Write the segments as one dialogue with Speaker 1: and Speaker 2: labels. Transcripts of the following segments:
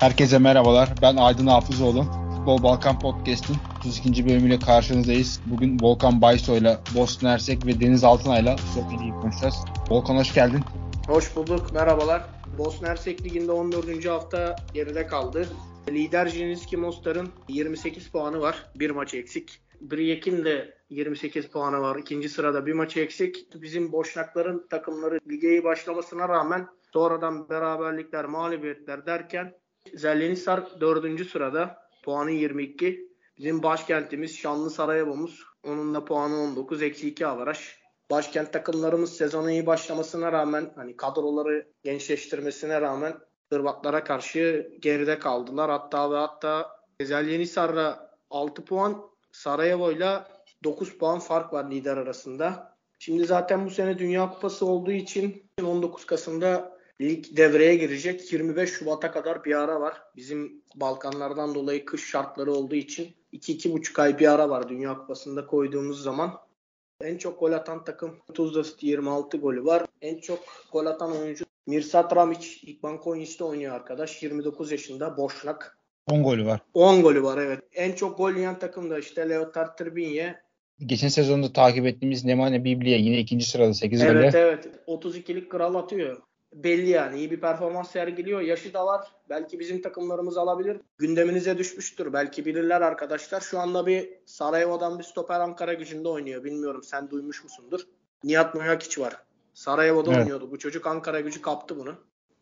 Speaker 1: Herkese merhabalar. Ben Aydın Hafızoğlu. Futbol Balkan Podcast'in 32. bölümüyle karşınızdayız. Bugün Volkan Baysoy'la, Boston Ersek ve Deniz Altınay'la Sokili'yi konuşacağız. Volkan hoş geldin.
Speaker 2: Hoş bulduk, merhabalar. Bosna Hersek Ligi'nde 14. hafta geride kaldı. Lider Jiniski Mostar'ın 28 puanı var, bir maçı eksik. Briyek'in de 28 puanı var, ikinci sırada bir maçı eksik. Bizim Boşnakların takımları ligeyi başlamasına rağmen sonradan beraberlikler, mağlubiyetler derken Zellenisar 4. sırada, puanı 22. Bizim başkentimiz Şanlı Sarayabomuz, onun da puanı 19, eksi 2 avaraj başkent takımlarımız sezona iyi başlamasına rağmen hani kadroları gençleştirmesine rağmen Hırvatlara karşı geride kaldılar. Hatta ve hatta Ezel Yenisar'la 6 puan Sarajevo'yla 9 puan fark var lider arasında. Şimdi zaten bu sene Dünya Kupası olduğu için 19 Kasım'da lig devreye girecek. 25 Şubat'a kadar bir ara var. Bizim Balkanlardan dolayı kış şartları olduğu için 2-2,5 ay bir ara var Dünya Kupası'nda koyduğumuz zaman. En çok gol atan takım Tuzla City 26 golü var. En çok gol atan oyuncu Mirsat Ramiç. İkban Konya'da oynuyor arkadaş. 29 yaşında Boşnak.
Speaker 1: 10 golü var.
Speaker 2: 10 golü var evet. En çok gol yiyen takım da işte Leotard Tribinye.
Speaker 1: Geçen sezonda takip ettiğimiz Nemanja Biblia yine ikinci sırada 8 golle.
Speaker 2: Evet evet. 32'lik kral atıyor. Belli yani iyi bir performans sergiliyor. Yaşı da var. Belki bizim takımlarımız alabilir. Gündeminize düşmüştür. Belki bilirler arkadaşlar. Şu anda bir Sarajevo'dan bir stoper Ankara gücünde oynuyor. Bilmiyorum sen duymuş musundur? Nihat Moyakiç var. Sarajevo'da
Speaker 1: Evet.
Speaker 2: oynuyordu. Bu çocuk Ankara gücü kaptı bunu.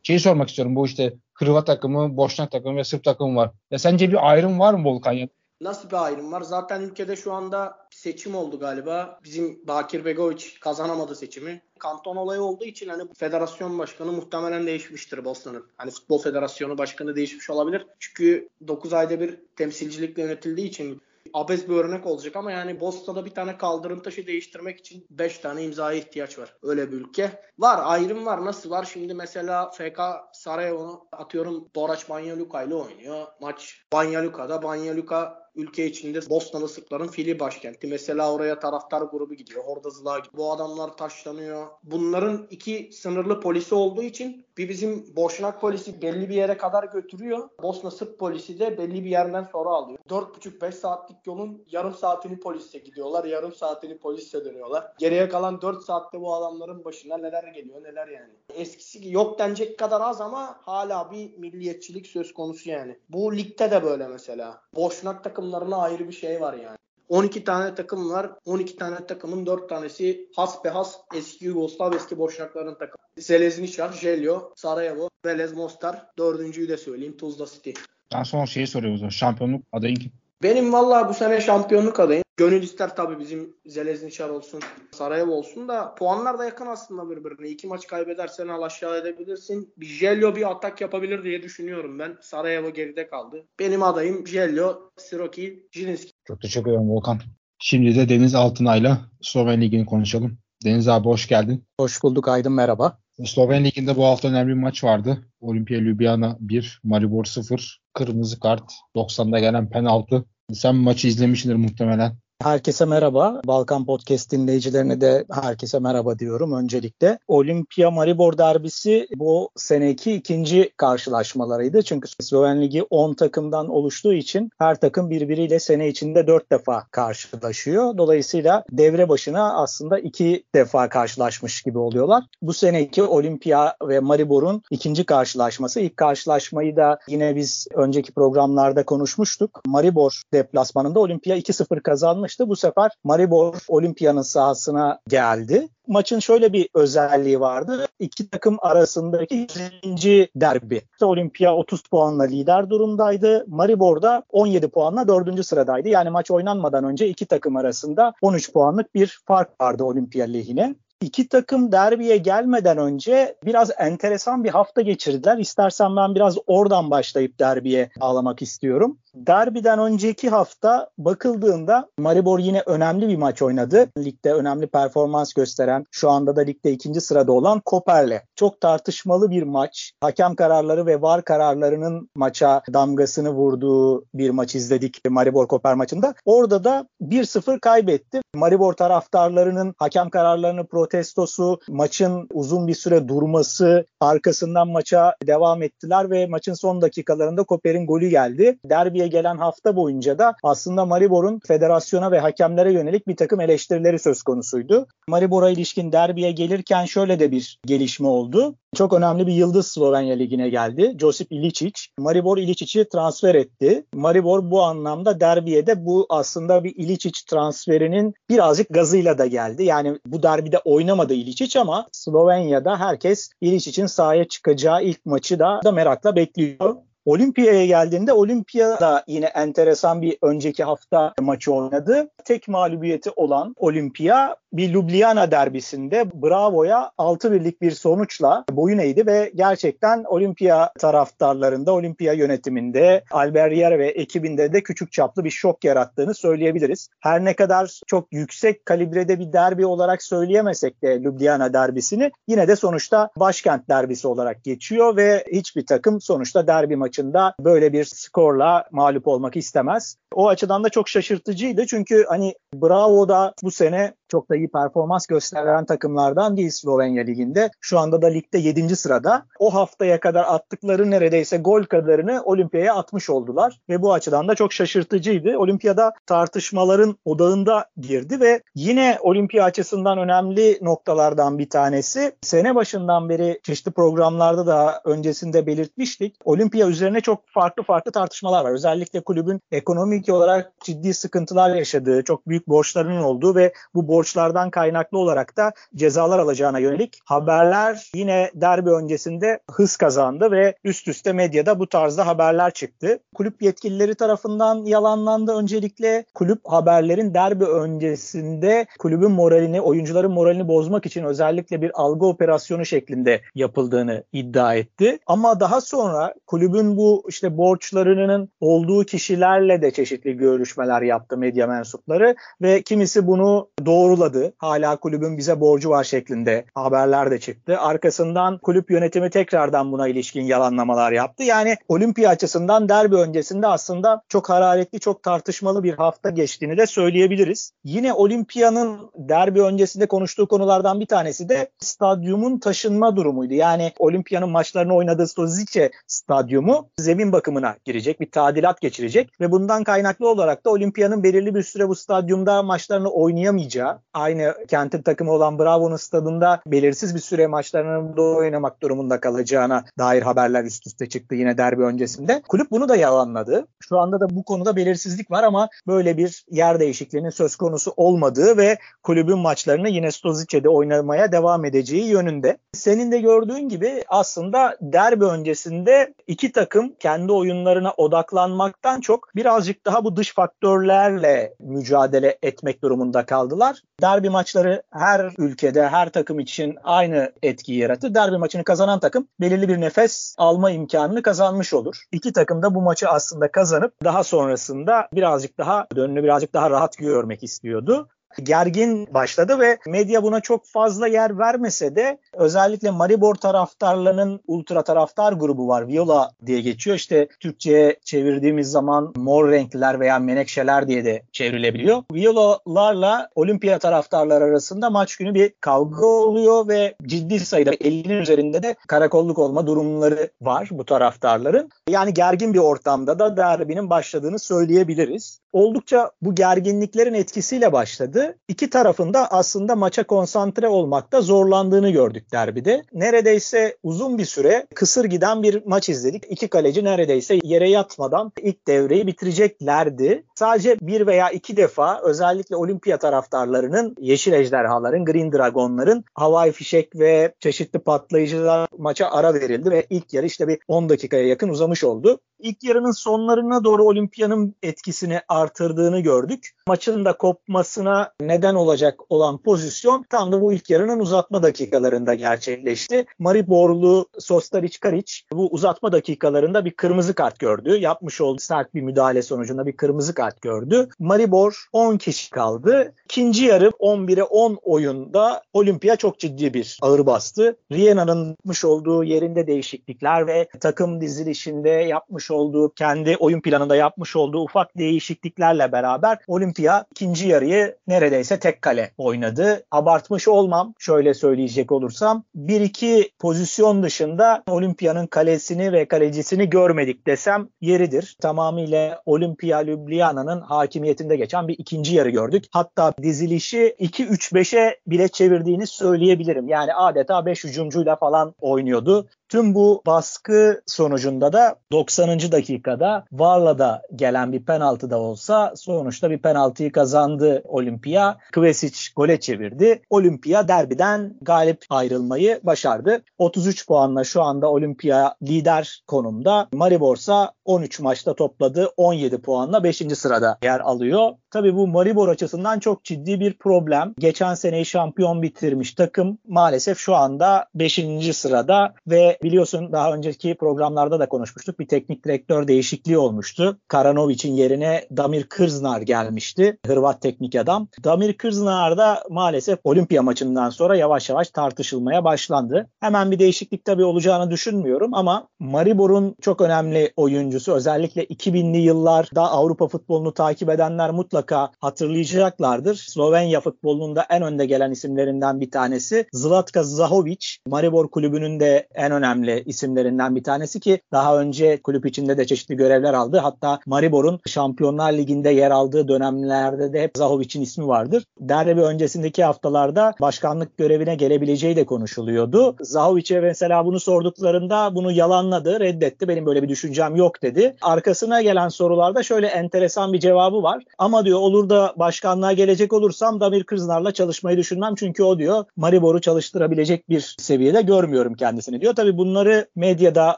Speaker 1: Şeyi sormak istiyorum. Bu işte Hırvat takımı, Boşnak takımı ve Sırp takımı var. Ya sence bir ayrım var mı Volkan? Ya?
Speaker 2: Nasıl bir ayrım var? Zaten ülkede şu anda bir seçim oldu galiba. Bizim Bakir Begoviç kazanamadı seçimi. Kanton olayı olduğu için hani federasyon başkanı muhtemelen değişmiştir Bosna'nın. Hani futbol federasyonu başkanı değişmiş olabilir. Çünkü 9 ayda bir temsilcilikle yönetildiği için abes bir örnek olacak ama yani Bosna'da bir tane kaldırım taşı değiştirmek için 5 tane imzaya ihtiyaç var. Öyle bir ülke. Var ayrım var. Nasıl var? Şimdi mesela FK Sarajevo atıyorum Boraç Banyaluka ile oynuyor. Maç Banyaluka'da. Banyaluka ülke içinde Bosnalı Sırpların fili başkenti. Mesela oraya taraftar grubu gidiyor. Orada zıla gidiyor. Bu adamlar taşlanıyor. Bunların iki sınırlı polisi olduğu için bir bizim Boşnak polisi belli bir yere kadar götürüyor. Bosna Sırp polisi de belli bir yerden sonra alıyor. 4,5-5 saatlik yolun yarım saatini polise gidiyorlar. Yarım saatini polise dönüyorlar. Geriye kalan 4 saatte bu adamların başına neler geliyor neler yani. Eskisi yok denecek kadar az ama hala bir milliyetçilik söz konusu yani. Bu ligde de böyle mesela. Boşnak takımlarına ayrı bir şey var yani. 12 tane takım var. 12 tane takımın 4 tanesi hasbehas eski Yugoslav eski Boşnakların takımı. Seleznişar, Jelio, Sarajevo, Velez Mostar. Dördüncüyü de söyleyeyim Tuzla City.
Speaker 1: Ben son şeyi soruyorum o zaman. Şampiyonluk adayın kim?
Speaker 2: Benim vallahi bu sene şampiyonluk adayım. Gönül ister tabii bizim Zeleznişar olsun, Sarajevo olsun da puanlar da yakın aslında birbirine. İki maç kaybedersen al aşağı edebilirsin. Bir Jello bir atak yapabilir diye düşünüyorum ben. Sarajevo geride kaldı. Benim adayım Jello, Siroki, Jilinski.
Speaker 1: Çok teşekkür ederim Volkan. Şimdi de Deniz Altınay'la Sloven Ligi'ni konuşalım. Deniz abi hoş geldin.
Speaker 3: Hoş bulduk Aydın merhaba.
Speaker 1: Sloven Ligi'nde bu hafta önemli bir maç vardı. Olimpia Ljubljana 1, Maribor 0, kırmızı kart, 90'da gelen penaltı. Sen maçı izlemişsindir muhtemelen.
Speaker 3: Herkese merhaba. Balkan Podcast dinleyicilerine de herkese merhaba diyorum öncelikle. Olimpia Maribor derbisi bu seneki ikinci karşılaşmalarıydı. Çünkü Sloven Ligi 10 takımdan oluştuğu için her takım birbiriyle sene içinde 4 defa karşılaşıyor. Dolayısıyla devre başına aslında 2 defa karşılaşmış gibi oluyorlar. Bu seneki Olimpia ve Maribor'un ikinci karşılaşması. İlk karşılaşmayı da yine biz önceki programlarda konuşmuştuk. Maribor deplasmanında Olimpia 2-0 kazanmıştı. Bu sefer Maribor Olimpia'nın sahasına geldi. Maçın şöyle bir özelliği vardı. İki takım arasındaki ikinci derbi. Olimpia 30 puanla lider durumdaydı. Maribor da 17 puanla 4. sıradaydı. Yani maç oynanmadan önce iki takım arasında 13 puanlık bir fark vardı Olimpia lehine. İki takım derbiye gelmeden önce biraz enteresan bir hafta geçirdiler. İstersen ben biraz oradan başlayıp derbiye ağlamak istiyorum. Derbiden önceki hafta bakıldığında Maribor yine önemli bir maç oynadı. Ligde önemli performans gösteren, şu anda da ligde ikinci sırada olan Koper'le. Çok tartışmalı bir maç. Hakem kararları ve VAR kararlarının maça damgasını vurduğu bir maç izledik Maribor Koper maçında. Orada da 1-0 kaybetti. Maribor taraftarlarının hakem kararlarını protestosu, maçın uzun bir süre durması, Arkasından maça devam ettiler ve maçın son dakikalarında Koper'in golü geldi. Derbiye gelen hafta boyunca da aslında Maribor'un federasyona ve hakemlere yönelik bir takım eleştirileri söz konusuydu. Maribor'a ilişkin derbiye gelirken şöyle de bir gelişme oldu. Çok önemli bir yıldız Slovenya Ligi'ne geldi. Josip Ilicic. Maribor Ilicic'i transfer etti. Maribor bu anlamda derbiye de bu aslında bir Ilicic transferinin birazcık gazıyla da geldi. Yani bu derbide oynamadı Ilicic ama Slovenya'da herkes Ilicic'in sahaya çıkacağı ilk maçı da, da merakla bekliyor. Olimpiya'ya geldiğinde Olimpiya da yine enteresan bir önceki hafta maçı oynadı. Tek mağlubiyeti olan Olimpiya bir Ljubljana derbisinde Bravo'ya 6 birlik bir sonuçla boyun eğdi ve gerçekten Olimpiya taraftarlarında, Olimpiya yönetiminde, Alberier ve ekibinde de küçük çaplı bir şok yarattığını söyleyebiliriz. Her ne kadar çok yüksek kalibrede bir derbi olarak söyleyemesek de Ljubljana derbisini yine de sonuçta başkent derbisi olarak geçiyor ve hiçbir takım sonuçta derbi maçında böyle bir skorla mağlup olmak istemez. O açıdan da çok şaşırtıcıydı çünkü hani Bravo'da bu sene çok da iyi performans gösteren takımlardan değil Slovenya Ligi'nde. Şu anda da ligde 7. sırada. O haftaya kadar attıkları neredeyse gol kadarını Olimpiya'ya atmış oldular. Ve bu açıdan da çok şaşırtıcıydı. Olimpiyada tartışmaların odağında girdi ve yine Olimpiya açısından önemli noktalardan bir tanesi. Sene başından beri çeşitli programlarda da öncesinde belirtmiştik. Olimpiya üzerine çok farklı farklı tartışmalar var. Özellikle kulübün ekonomik olarak ciddi sıkıntılar yaşadığı, çok büyük borçlarının olduğu ve bu borç borçlardan kaynaklı olarak da cezalar alacağına yönelik haberler yine derbi öncesinde hız kazandı ve üst üste medyada bu tarzda haberler çıktı. Kulüp yetkilileri tarafından yalanlandı öncelikle. Kulüp haberlerin derbi öncesinde kulübün moralini, oyuncuların moralini bozmak için özellikle bir algı operasyonu şeklinde yapıldığını iddia etti. Ama daha sonra kulübün bu işte borçlarının olduğu kişilerle de çeşitli görüşmeler yaptı medya mensupları ve kimisi bunu doğru doğruladı. Hala kulübün bize borcu var şeklinde haberler de çıktı. Arkasından kulüp yönetimi tekrardan buna ilişkin yalanlamalar yaptı. Yani olimpiya açısından derbi öncesinde aslında çok hararetli, çok tartışmalı bir hafta geçtiğini de söyleyebiliriz. Yine olimpiyanın derbi öncesinde konuştuğu konulardan bir tanesi de stadyumun taşınma durumuydu. Yani olimpiyanın maçlarını oynadığı Stozice stadyumu zemin bakımına girecek, bir tadilat geçirecek ve bundan kaynaklı olarak da olimpiyanın belirli bir süre bu stadyumda maçlarını oynayamayacağı, aynı kentin takımı olan Bravo'nun stadında belirsiz bir süre maçlarını oynamak durumunda kalacağına dair haberler üst üste çıktı yine derbi öncesinde. Kulüp bunu da yalanladı. Şu anda da bu konuda belirsizlik var ama böyle bir yer değişikliğinin söz konusu olmadığı ve kulübün maçlarını yine Stozice'de oynamaya devam edeceği yönünde. Senin de gördüğün gibi aslında derbi öncesinde iki takım kendi oyunlarına odaklanmaktan çok birazcık daha bu dış faktörlerle mücadele etmek durumunda kaldılar. Derbi maçları her ülkede, her takım için aynı etkiyi yarattı. Derbi maçını kazanan takım belirli bir nefes alma imkanını kazanmış olur. İki takım da bu maçı aslında kazanıp daha sonrasında birazcık daha önünü birazcık daha rahat görmek istiyordu gergin başladı ve medya buna çok fazla yer vermese de özellikle Maribor taraftarlarının ultra taraftar grubu var. Viola diye geçiyor. İşte Türkçe'ye çevirdiğimiz zaman mor renkliler veya menekşeler diye de çevrilebiliyor. Viola'larla olimpiya taraftarları arasında maç günü bir kavga oluyor ve ciddi sayıda 50'nin üzerinde de karakolluk olma durumları var bu taraftarların. Yani gergin bir ortamda da derbinin başladığını söyleyebiliriz. Oldukça bu gerginliklerin etkisiyle başladı iki tarafında aslında maça konsantre olmakta zorlandığını gördük derbide. Neredeyse uzun bir süre kısır giden bir maç izledik. İki kaleci neredeyse yere yatmadan ilk devreyi bitireceklerdi. Sadece bir veya iki defa özellikle olimpiya taraftarlarının, yeşil ejderhaların, green dragonların havai fişek ve çeşitli patlayıcılar maça ara verildi ve ilk yarı işte bir 10 dakikaya yakın uzamış oldu. İlk yarının sonlarına doğru olimpiyanın etkisini artırdığını gördük. Maçın da kopmasına neden olacak olan pozisyon tam da bu ilk yarının uzatma dakikalarında gerçekleşti. Mariborlu Sostaric Karic bu uzatma dakikalarında bir kırmızı kart gördü. Yapmış olduğu sert bir müdahale sonucunda bir kırmızı kart gördü. Maribor 10 kişi kaldı. İkinci yarı 11'e 10 oyunda Olimpiya çok ciddi bir ağır bastı. Riena'nın yapmış olduğu yerinde değişiklikler ve takım dizilişinde yapmış yapmış olduğu, kendi oyun planında yapmış olduğu ufak değişikliklerle beraber Olimpia ikinci yarıyı neredeyse tek kale oynadı. Abartmış olmam şöyle söyleyecek olursam. Bir iki pozisyon dışında Olimpia'nın kalesini ve kalecisini görmedik desem yeridir. Tamamıyla Olimpia Ljubljana'nın hakimiyetinde geçen bir ikinci yarı gördük. Hatta dizilişi 2-3-5'e bile çevirdiğini söyleyebilirim. Yani adeta 5 hücumcuyla falan oynuyordu. Tüm bu baskı sonucunda da 90. dakikada Varla'da gelen bir penaltı da olsa sonuçta bir penaltıyı kazandı Olimpia. Kvesic gole çevirdi. Olimpia derbiden galip ayrılmayı başardı. 33 puanla şu anda Olimpia lider konumda. Mariborsa 13 maçta topladı 17 puanla 5. sırada yer alıyor. Tabii bu Maribor açısından çok ciddi bir problem. Geçen seneyi şampiyon bitirmiş takım maalesef şu anda 5. sırada ve biliyorsun daha önceki programlarda da konuşmuştuk. Bir teknik direktör değişikliği olmuştu. Karanovic'in yerine Damir Kırznar gelmişti. Hırvat teknik adam. Damir Kırznar da maalesef olimpiya maçından sonra yavaş yavaş tartışılmaya başlandı. Hemen bir değişiklik tabii olacağını düşünmüyorum ama Maribor'un çok önemli oyuncusu özellikle 2000'li yıllarda Avrupa futbolunu takip edenler mutlaka hatırlayacaklardır. Slovenya futbolunda en önde gelen isimlerinden bir tanesi Zlatka Zahovic. Maribor kulübünün de en önemli isimlerinden bir tanesi ki daha önce kulüp içinde de çeşitli görevler aldı. Hatta Maribor'un Şampiyonlar Ligi'nde yer aldığı dönemlerde de hep Zahovic'in ismi vardır. Derbi öncesindeki haftalarda başkanlık görevine gelebileceği de konuşuluyordu. Zahovic'e mesela bunu sorduklarında bunu yalanladı, reddetti. Benim böyle bir düşüncem yok dedi. Arkasına gelen sorularda şöyle enteresan bir cevabı var. Ama diyor olur da başkanlığa gelecek olursam Damir Kıznar'la çalışmayı düşünmem çünkü o diyor Maribor'u çalıştırabilecek bir seviyede görmüyorum kendisini diyor. Tabi bunları medyada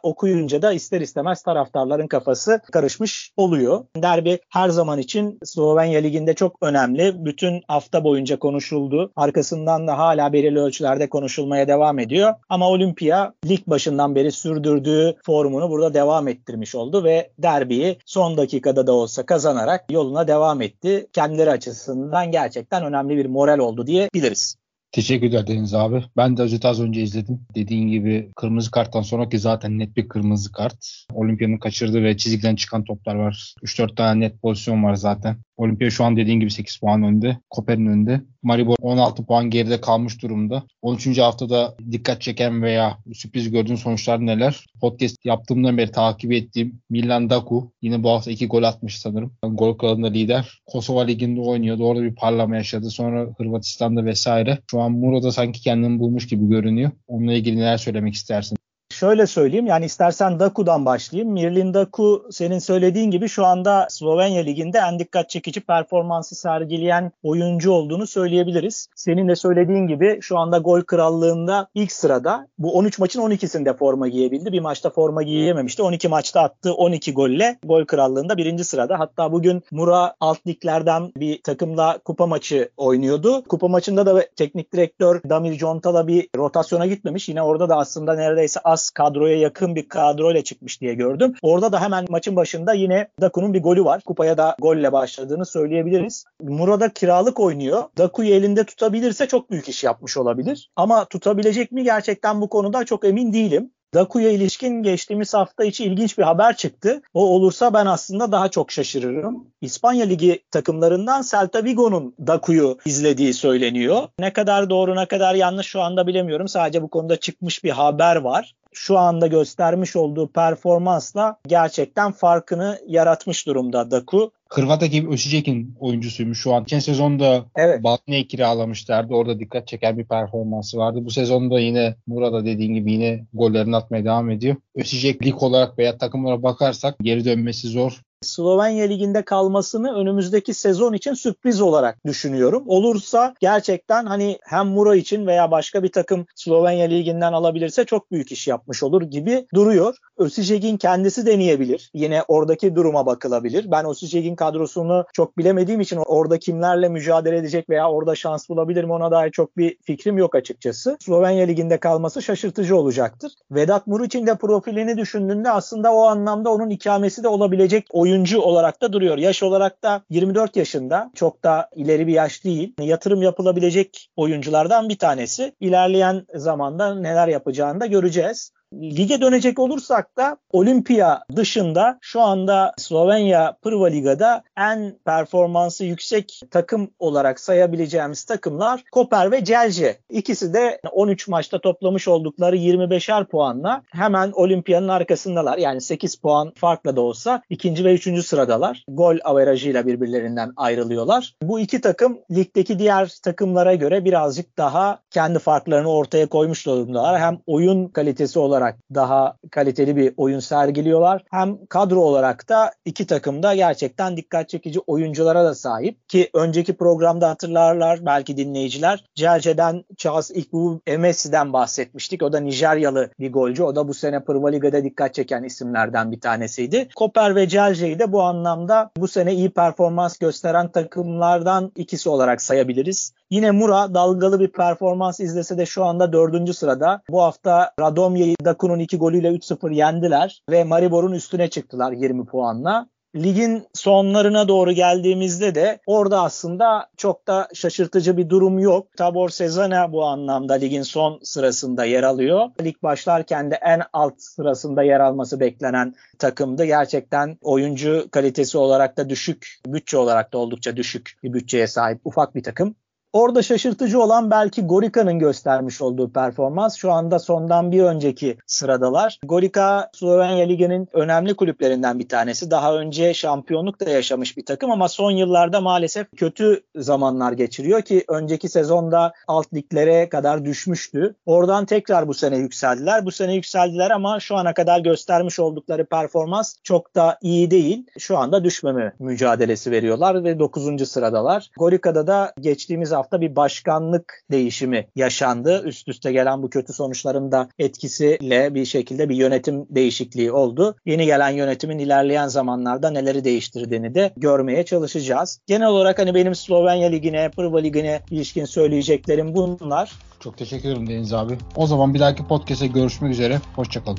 Speaker 3: okuyunca da ister istemez taraftarların kafası karışmış oluyor. Derbi her zaman için Slovenya Ligi'nde çok önemli. Bütün hafta boyunca konuşuldu. Arkasından da hala belirli ölçülerde konuşulmaya devam ediyor. Ama Olimpia lig başından beri sürdürdüğü formunu burada devam ettirmiş oldu ve derbiyi son dakikada da olsa kazanarak yoluna devam etti. Kendileri açısından gerçekten önemli bir moral oldu diye biliriz.
Speaker 1: Teşekkürler Deniz abi. Ben de özeti az önce izledim. Dediğin gibi kırmızı karttan sonra ki zaten net bir kırmızı kart. Olimpiya'nın kaçırdığı ve çizgiden çıkan toplar var. 3-4 tane net pozisyon var zaten. Olimpiya şu an dediğin gibi 8 puan önde. Koper'in önünde. Maribor 16 puan geride kalmış durumda. 13. haftada dikkat çeken veya sürpriz gördüğün sonuçlar neler? Podcast yaptığımdan beri takip ettiğim Milan Daku yine bu hafta 2 gol atmış sanırım. Gol kralında lider. Kosova Ligi'nde oynuyordu. Orada bir parlama yaşadı. Sonra Hırvatistan'da vesaire. Şu an Mura'da sanki kendini bulmuş gibi görünüyor. Onunla ilgili neler söylemek istersin?
Speaker 3: şöyle söyleyeyim yani istersen Daku'dan başlayayım. Mirlin Daku senin söylediğin gibi şu anda Slovenya Ligi'nde en dikkat çekici performansı sergileyen oyuncu olduğunu söyleyebiliriz. Senin de söylediğin gibi şu anda gol krallığında ilk sırada bu 13 maçın 12'sinde forma giyebildi. Bir maçta forma giyememişti. 12 maçta attığı 12 golle gol krallığında birinci sırada. Hatta bugün Mura alt liglerden bir takımla kupa maçı oynuyordu. Kupa maçında da teknik direktör Damir Contala bir rotasyona gitmemiş. Yine orada da aslında neredeyse az kadroya yakın bir kadroyla çıkmış diye gördüm. Orada da hemen maçın başında yine Daku'nun bir golü var. Kupaya da golle başladığını söyleyebiliriz. Murada kiralık oynuyor. Daku'yu elinde tutabilirse çok büyük iş yapmış olabilir. Ama tutabilecek mi gerçekten bu konuda çok emin değilim. Daku'ya ilişkin geçtiğimiz hafta içi ilginç bir haber çıktı. O olursa ben aslında daha çok şaşırırım. İspanya Ligi takımlarından Celta Vigo'nun Daku'yu izlediği söyleniyor. Ne kadar doğru ne kadar yanlış şu anda bilemiyorum. Sadece bu konuda çıkmış bir haber var şu anda göstermiş olduğu performansla gerçekten farkını yaratmış durumda Daku.
Speaker 1: Hırvat ekibi Ösicek'in oyuncusuymuş şu an. Geçen sezonda evet. Balne'yi kiralamışlardı. Orada dikkat çeken bir performansı vardı. Bu sezonda yine Murada dediğin gibi yine gollerini atmaya devam ediyor. Ösicek lig olarak veya takımlara bakarsak geri dönmesi zor.
Speaker 3: Slovenya liginde kalmasını önümüzdeki sezon için sürpriz olarak düşünüyorum. Olursa gerçekten hani hem Mura için veya başka bir takım Slovenya liginden alabilirse çok büyük iş yapmış olur gibi duruyor. Osijek'in kendisi deneyebilir. Yine oradaki duruma bakılabilir. Ben Osijek'in kadrosunu çok bilemediğim için orada kimlerle mücadele edecek veya orada şans bulabilir mi ona dair çok bir fikrim yok açıkçası. Slovenya liginde kalması şaşırtıcı olacaktır. Vedat Muriç'in de profilini düşündüğünde aslında o anlamda onun ikamesi de olabilecek oyun oyuncu olarak da duruyor. Yaş olarak da 24 yaşında. Çok da ileri bir yaş değil. Yatırım yapılabilecek oyunculardan bir tanesi. İlerleyen zamanda neler yapacağını da göreceğiz. Lige dönecek olursak da Olimpiya dışında şu anda Slovenya Prva Liga'da en performansı yüksek takım olarak sayabileceğimiz takımlar Koper ve Celje. İkisi de 13 maçta toplamış oldukları 25'er puanla hemen Olimpiya'nın arkasındalar. Yani 8 puan farkla da olsa ikinci ve üçüncü sıradalar. Gol averajıyla birbirlerinden ayrılıyorlar. Bu iki takım ligdeki diğer takımlara göre birazcık daha kendi farklarını ortaya koymuş durumdalar. Hem oyun kalitesi olarak daha kaliteli bir oyun sergiliyorlar. Hem kadro olarak da iki takım da gerçekten dikkat çekici oyunculara da sahip. Ki önceki programda hatırlarlar belki dinleyiciler. Celce'den Charles Ikbu Emesi'den bahsetmiştik. O da Nijeryalı bir golcü. O da bu sene Pırva Liga'da dikkat çeken isimlerden bir tanesiydi. Koper ve Celce'yi de bu anlamda bu sene iyi performans gösteren takımlardan ikisi olarak sayabiliriz. Yine Mura dalgalı bir performans izlese de şu anda dördüncü sırada. Bu hafta Radomya'yı Dakun'un iki golüyle 3-0 yendiler ve Maribor'un üstüne çıktılar 20 puanla ligin sonlarına doğru geldiğimizde de orada aslında çok da şaşırtıcı bir durum yok. Tabor Sezana bu anlamda ligin son sırasında yer alıyor. Lig başlarken de en alt sırasında yer alması beklenen takımdı. Gerçekten oyuncu kalitesi olarak da düşük, bütçe olarak da oldukça düşük bir bütçeye sahip ufak bir takım. Orada şaşırtıcı olan belki Gorika'nın göstermiş olduğu performans. Şu anda sondan bir önceki sıradalar. Gorika Slovenya Ligi'nin önemli kulüplerinden bir tanesi. Daha önce şampiyonluk da yaşamış bir takım ama son yıllarda maalesef kötü zamanlar geçiriyor ki önceki sezonda alt liglere kadar düşmüştü. Oradan tekrar bu sene yükseldiler. Bu sene yükseldiler ama şu ana kadar göstermiş oldukları performans çok da iyi değil. Şu anda düşmeme mücadelesi veriyorlar ve 9. sıradalar. Gorika'da da geçtiğimiz hafta bir başkanlık değişimi yaşandı. Üst üste gelen bu kötü sonuçların da etkisiyle bir şekilde bir yönetim değişikliği oldu. Yeni gelen yönetimin ilerleyen zamanlarda neleri değiştirdiğini de görmeye çalışacağız. Genel olarak hani benim Slovenya Ligi'ne, Prva Ligi'ne ilişkin söyleyeceklerim bunlar.
Speaker 1: Çok teşekkür ederim Deniz abi. O zaman bir dahaki podcast'e görüşmek üzere. Hoşçakalın.